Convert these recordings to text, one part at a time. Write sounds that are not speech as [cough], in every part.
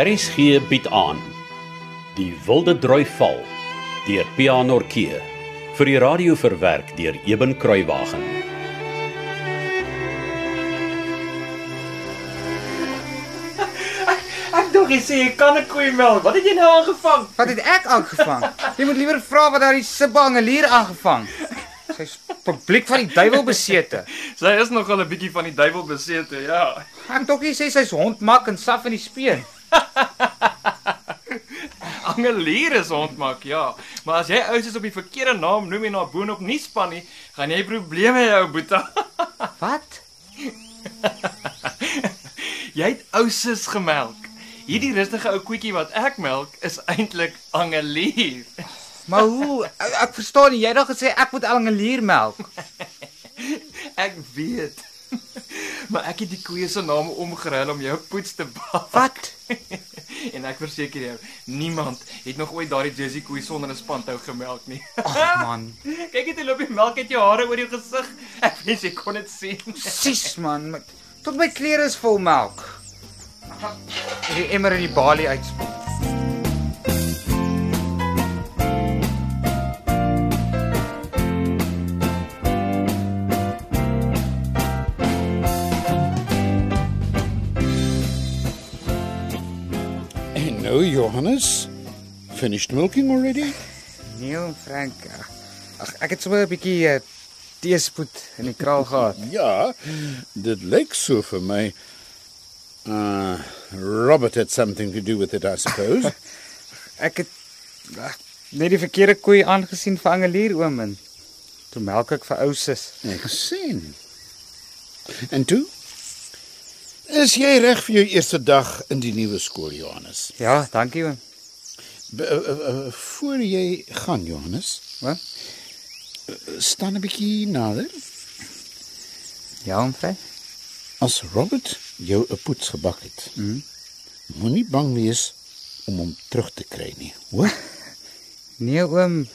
Aris gee bied aan Die Wilde Droi Val deur Pianorkee vir die radio verwerk deur Eben Kruiwagen. Ek dink jy sê jy kan 'n koei mel. Wat het jy nou aangevang? Wat het ek aangevang? Jy moet liewer vra wat daai sibbangelier aangevang. Sy's publiek van die duiwel besete. Sy is nogal 'n bietjie van die duiwel besete, ja. [laughs] Ek dokkie sê sy's hondmak en saf in die speen. Angelier is hondmak, ja. Maar as jy ousies op die verkeerde naam noem en na boonop nie span nie, gaan jy probleme hê, ou boetie. Wat? [laughs] Jy het ousies gemelk. Hierdie rustige ou koetjie wat ek melk is eintlik angelier. [laughs] Maar hoe? Ek, ek verstaan nie. Jy het al gesê ek moet angelier melk. Ek weet. [laughs] Maar ek het die koeie se name omgeruil om jou poets te bak. Wat? [laughs] En ek verseker jou, niemand het nog ooit daardie Jersey koei sonder 'n spanhou gemelk nie. [laughs] Ag man. Kyk net hoe loop die melk uit jou hare oor jou gesig. [laughs] Ek wens jy kon dit sien. Sis man, met, tot my klere is vol melk. Die emmer in die balie uitspoel. [clears throat] And now, Johannes, finished milking already? Neil en Nee, Frank. Ag ek het sommer 'n bietjie uh, teespoed in die kraal gehad. Ja, dit lyk so vir my. Uh, Robert had something to do with it, I suppose. [laughs] Ek het ag, net die verkeerde koei aangesien vir angelier oom en toe melk ek vir ou sis. Ek sien. En toe? Is jy reg vir jou eerste dag in die nuwe skool, Johannes? Ja, dankie oom. B uh, uh, uh, voor jy gaan, Johannes, Eh, Wat? staan 'n bietjie nader. Ja, oom Frank. As Robert jou 'n poets gebak het, mm. moenie bang wees om hom terug te kry nie. Hoor? Nee oom.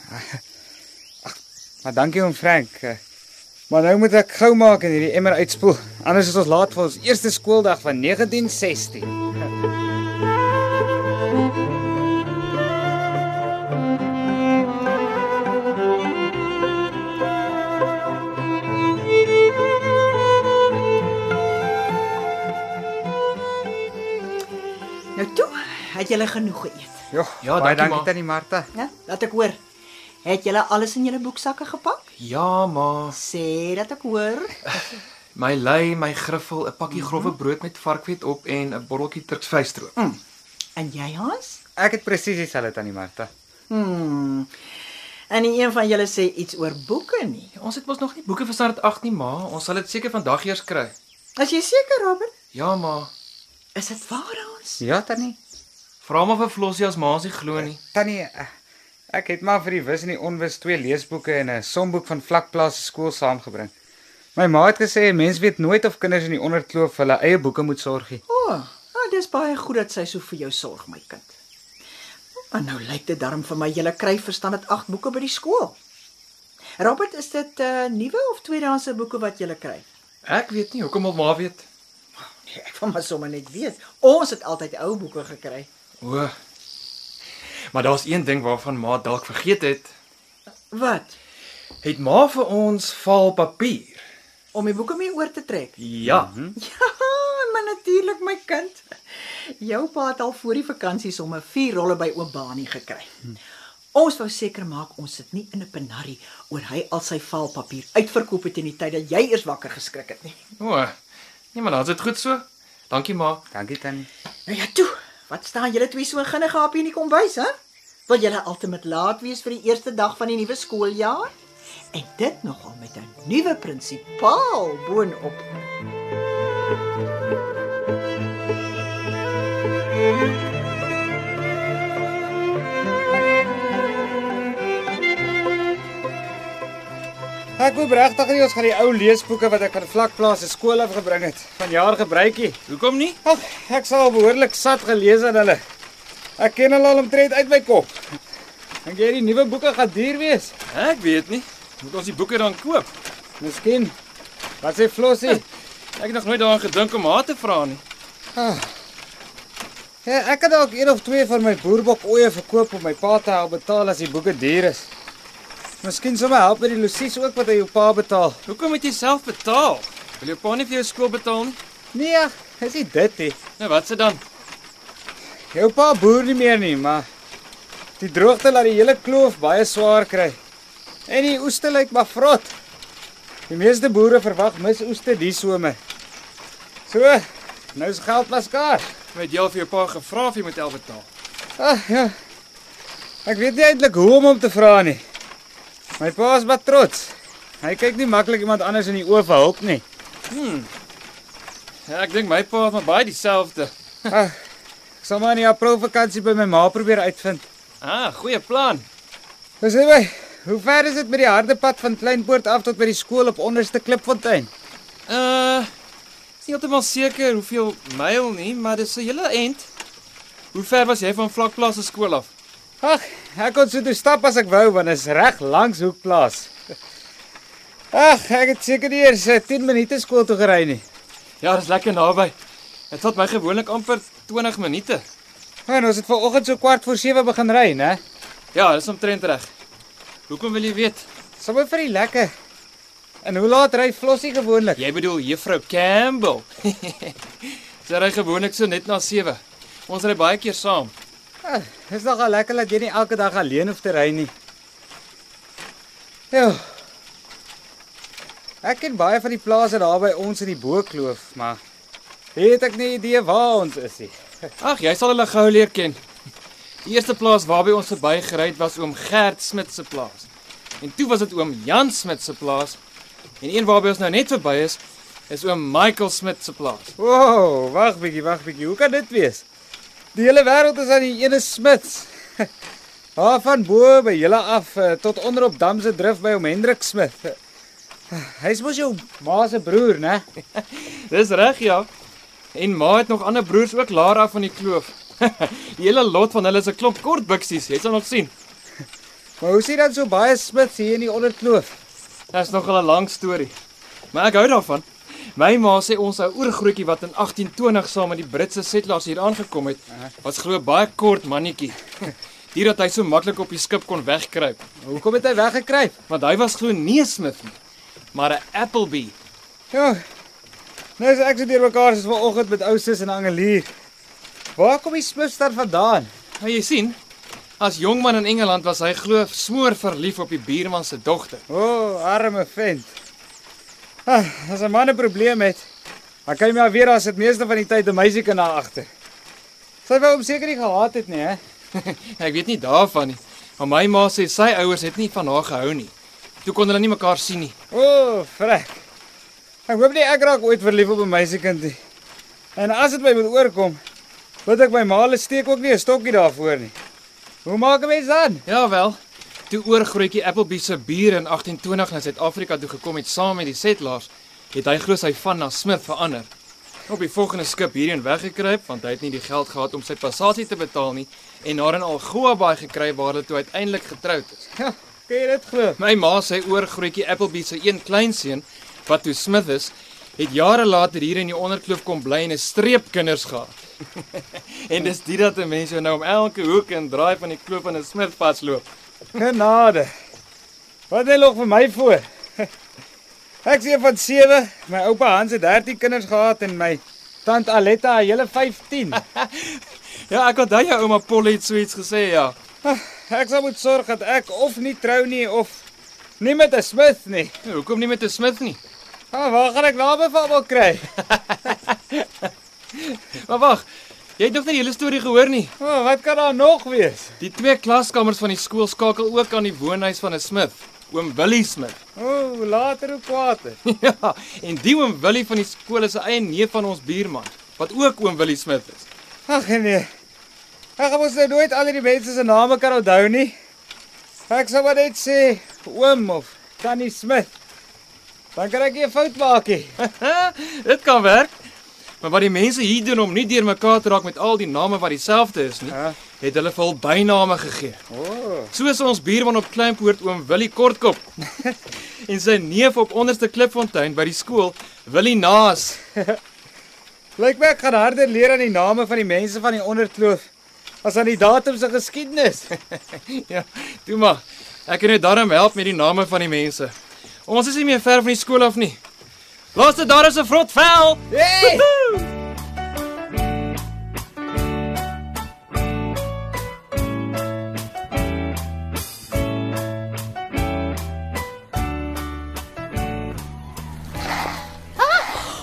[laughs] Ag, maar dankie oom Frank. Eh, Maar nou moet ek gou maak en hierdie emmer uitspoel. Anders is ons laat vir ons eerste skooldag van 1916. Nou toe, het julle genoeg geëet. Jo, Ja, baie dankie, dankie ma. tannie Martha. Né? Laat ek hoor. Het julle alles in julle boeksakke gepak? Ja, ma. Sê dat ek hoor. My lei, my griffel, 'n pakkie grofwe brood met varkvet op en 'n botteltjie turksvleisstroop. En jy, Hans? Ek het presies dieselfde tannie Martha. Hmm. En nie een van julle sê iets oor boeke nie. Ons het mos nog nie boeke vir standaard 8 nie, ma. Ons sal dit seker vandag eers kry. As jy seker, Robert, Ja, ma. is dit waar ons? Ja tannie. Vra maar vir Flossie as ma as hy glo nie. Tannie, eh, ek het maar vir die wis en die onwis twee leesboeke en 'n somboek van vlakplaas se skool saamgebring. My ma het gesê 'n mens weet nooit of kinders in die onderkloof vir hulle eie boeke moet sorgie. O, oh, ah, dis baie goed dat sy so vir jou sorg, my kind. Maar nou lyk dit darm vir my julle kry verstaan dit 8 boeke by die skool. Robert, is dit uh, nuwe of tweedehandse boeke wat julle kry? Ek weet nie hoekom al ma weet. Nee, ek wil maar sommer net weet. Ons het altyd ou boeke gekry. O. Maar daar's een ding waarvan ma dalk vergeet het. Wat? Het ma vir ons val papier? Om die boeke mee oor te trek. [laughs] Ja. Mm -hmm. Ja, maar natuurlik my kind. Jou pa het al voor die vakansie sommer vier rolle by Obani gekry. Ons wou seker maak ons sit nie in 'n penarie oor hy al sy valpapier uitverkoop het in die tyd dat jy eers wakker geskrik het nie. O. Nee, maar dan is dit goed so. Dankie ma. Dankie tannie. Nou ja, toe. Wat staan julle twee so ginnige hapie in die kombuis, hè? Wil julle altemat laat wees vir die eerste dag van die nuwe skooljaar? En dit nogal met 'n nuwe prinsipaal boonop. Ek hoop regtig nie ons gaan die ou leesboeke wat ek van vlakplaas se skool af gebring het van jaar gebruikie. Hoekom nie? Ag, ek sal al behoorlik sat gelees aan hulle. Ek ken hulle al omtrent uit my kop. Dink jy die nuwe boeke gaan duur wees? Ek weet nie. Moet ons die boeke dan koop? Miskien. Wat sê Flossie? Ek het nog nooit daaraan gedink om haar te vra nie. Ah. Ja, ek kan dalk een of twee van my boerbok oeye verkoop om my pa te help betaal as die boeke duur is. Miskien sommer help met die losies ook wat hy jou pa betaal. Hoekom moet jy self betaal? Wil jou pa nie vir jou skool betaal nie? Nee, ag, is nie dit nie. Nou wat se dan? Jou pa boer nie meer nie, maar die droogte laat die hele kloof baie swaar kry. En die oeste lyk maar vrot. Die meeste boere verwag misoeste die somer. So, nou is geld maar skaars. Met jy al vir jou pa gevra of jy moet help betaal. Ag ja. Ek weet nie eintlik hoe om hom te vra nie. My pa is baie trots. Hy kyk nie maklik iemand anders in die oë vir hulp nie. Ja, ek dink my pa het maar baie dieselfde. Ag, ek sal maar in die April vakansie by my ma probeer uitvind. Ah, goeie plan. Dis hy. Hoe ver is dit met die harde pad van Kleinpoort af tot by die skool op onderste Klipfontein? Uh is nie heeltemal seker hoeveel myl nie, maar dis 'n hele end. Hoe ver was jy van vlakplaas se skool af? Ag, ek kon so toe stap as ek wou want dit is reg langs Hoekplaas. Ag, ek het seker nie eers eh, 10 minute skool toe gery nie. Ja, dis lekker naby. Dit vat my gewoonlik amper 20 minute. En ons het vanoggend so kwart voor 7 begin ry, né? Ja, dis omtrent reg. Hoekom wil jy weet? Sommige vir die lekker. En hoe laat ry Flossie gewoonlik? Jy bedoel juffrou Campbell. [laughs] Sy ry gewoonlik so net na 7. Ons ry baie keer saam. Ag, Dis Ah, nogal lekker dat jy nie elke dag alleen hoef te ry nie. Ja. Ek ken baie van die plase daar by ons in die Boekloof, maar het ek nie idee waar ons is nie. Ag, jy sal hulle gou leer ken. Die eerste plaas waarby ons verby gery het was oom Gert Smit se plaas. En toe was dit oom Jan Smit se plaas. En een waarby ons nou net verby is, is oom Michael Smit se plaas. Wow, wag bietjie, wag bietjie. Hoe kan dit wees? Die hele wêreld is aan die ene Smits. [laughs] Haar van bo by julle af eh, tot onder op Dam se drif by hom Hendrik Smit. [laughs] Hy's mos jou ma se broer, né? [laughs] Dis reg, ja. En ma het nog ander broers ook laer af van die kloof. [laughs] die hele lot van hulle is 'n klomp kortbuksies, jy sal nog sien. Maar hoe sien dan so baie Smits hier in die onderkloof? Dit is nogal 'n lang storie. Maar ek hou daarvan. My ma sê ons ou oergrootjie wat in 1820 saam met die Britse settlers hier aangekom het, was glo baie kort mannetjie. [laughs] Hier dat hy so maklik op die skip kon wegkruip, Hoekom het hy weggekruip? want hy was glo nie 'n smith nie, maar 'n Appleby. Ja. Nou is ek so deurmekaar soos vanoggend met ou sis en Angelier. Waar kom die Smits dan vandaan? Nou jy sien, as jong man in Engeland was hy glo smoor verlief op die buurman se dogter. O, oh, arme vent. Ah, as 'n man 'n probleem het, dan kan jy maar weer as dit meeste van die tyd 'n meisie kan na agter. Sy wou hom seker nie gehaat het nie, hè? [laughs] ek weet nie daarvan nie, maar my ma sê sy ouers het nie van haar gehou nie. Toe kon hulle nie mekaar sien nie. O, oh, vrek. Ek hoop nie ek raak ooit verlief op 'n meisiekind nie. En as dit my moet oorkom, bid ek my ma hulle steek ook nie 'n stokkie daarvoor nie. Hoe maak 'n mens dan? Ja wel. Toe oorgrootjie Appleby se bier in 1820 na Suid-Afrika toe gekom het saam met die settlers, het hy glo sy van na Smith verander. Op die volgende skip hierheen weggekruip want hy het nie die geld gehad om sy passasie te betaal nie en na in Algoa Bay gekry waar hulle toe uiteindelik getroud is. Ja, kan jy dit glo? My ma sê oorgrootjie Appleby se een kleinseun wat toe Smith is, het jare later hier in die onderkloof kom bly en 'n streep kinders gehad. [laughs] en dis dit dat die mense nou om elke hoek en draai van die kloof aan 'n Smith vasloop. Genade. Wat hy nog vir my voor. [laughs] Ek sien van 7, my oupa Hans het 13 kinders gehad en my tant Aletta 'n hele 15. Ja, ek onthou jou ouma Polly het so iets gesê, ja. Ah, Ek sal moet sorg dat ek of nie trou nie of nie met 'n Smith nie. Nou, Hoekom nie met 'n Smith nie? Ah, waar gaan ek name van wil kry? Maar wag, jy het nog nie die hele storie gehoor nie. O, oh, wat kan daar nog wees? Die twee klaskamers van die skool skakel ook aan die woonhuis van 'n Smith, oom Willie Smith. [laughs] O, oh, hoe later hoe kwaader. ja, en die oom Willie van die skool is 'n eie neef van ons buurman, wat ook oom Willie Smith is. Ag nee. Ek gaan mos nou nooit al die mense se name kan onthou nie. Ek sou maar net sê oom of tannie Smith. Dan kan ek nie 'n fout [laughs] maak nie. Dit kan werk. Maar wat die mense hier doen om nie deurmekaar te raak met al die name wat dieselfde is nie, Ja. het hulle vir hul byname gegee. O, Soos ons buurman op Kleinpoort oom Willie Kortkop en sy neef op Onderste Klipfontein by die skool, Willie Naas. [laughs] Lyk my ek gaan harder leer aan die name van die mense van die onderkloof as aan die datums se geskiedenis. [laughs] ja, toe maar. Ek kan jou daarom help met die name van die mense. Ons is nie meer ver van die skool af nie. Laaste daar is 'n vrot vel. Hey!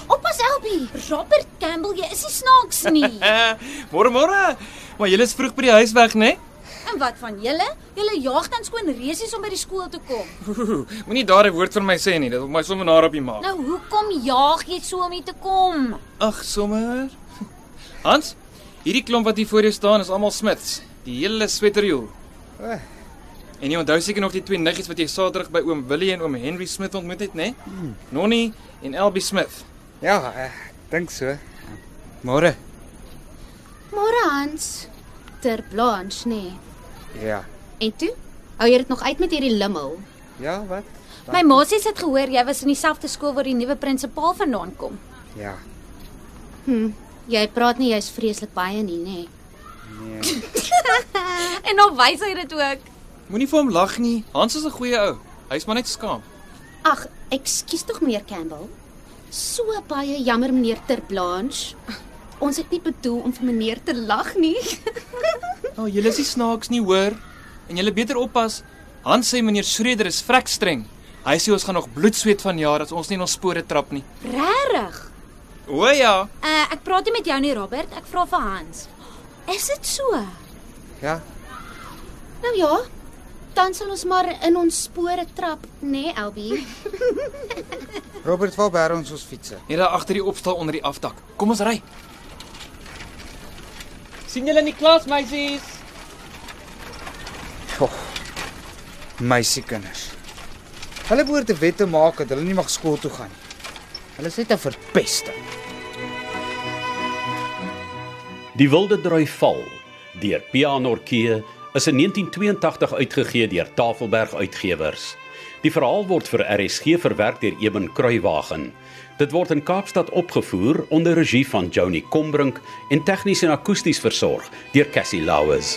Oppas Elbie. Robert Campbell, jy is nie snaaks nie. Eh, môre môre. Maar jy is vroeg by die huis weg, né? en wat van julle? Julle jaag dan skoon resies om by die skool te kom. Nee? Moenie daardie woord van my sê nie. Dit wil my sommer naar op die maag. Nou hoekom jaag jy so om hier te kom? Ag, sommer. Hans, hierdie klomp wat hier voor jou staan is almal smits. Die hele sweterjoel. Eh. En jy onthou seker nog die twee niggies wat jy Saterdag by oom Willie en oom Henry Smith ontmoet het, né? Mm. Nonnie en Elbie Smith. Ja, ek dink so. Môre. Môre Hans. Ter Blanche, nê. Ja. En toe? Hou jy dit nog uit met hierdie limmel? Ja, wat? My ma sê sy het gehoor jy was in dieselfde skool waar die nuwe prinsipaal vandaan kom. Ja. Hm. Jy praat nie jy's vreeslik baie nie, nê. [laughs] En nou wys hy dit ook. Moenie vir hom lag nie. Hans is 'n goeie ou. Hy's maar net skaam. Ag, ekskuus tog meneer Campbell. So baie jammer meneer Ter Blanche. Ons het nie bedoel om vir meneer te lag nie. Nou, julle is nie snaaks nie, hoor. En julle beter oppas. Hans sê meneer Schreder is vrek streng. Hy sê ons gaan nog bloed sweet van jaar as ons nie in ons spore trap nie. Regtig? O ja. Uh, ek praat nie met jou nie, Robert. Ek vra vir Hans. Is dit so? Ja. Nou ja, dan sal ons maar in ons spore trap, nê, nee, Elbie? Robert, waar bær ons ons fietsse? Net daar agter die opstal onder die afdak. Kom ons ry. sien julle in die klas, meisies? Meisiekinders. Hulle behoort 'n wet te maak dat hulle nie mag skool toe gaan nie. Hulle is net 'n verpesting. Die Wilde Droi Val deur Pianorkee is in 1982 uitgegee deur Tafelberg Uitgewers. Die verhaal word vir RSG verwerk deur Eben Kruiwagen. Dit word in Kaapstad opgevoer onder regie van Johnny Combrink en tegnies en akoesties versorg deur Cassie Lauers.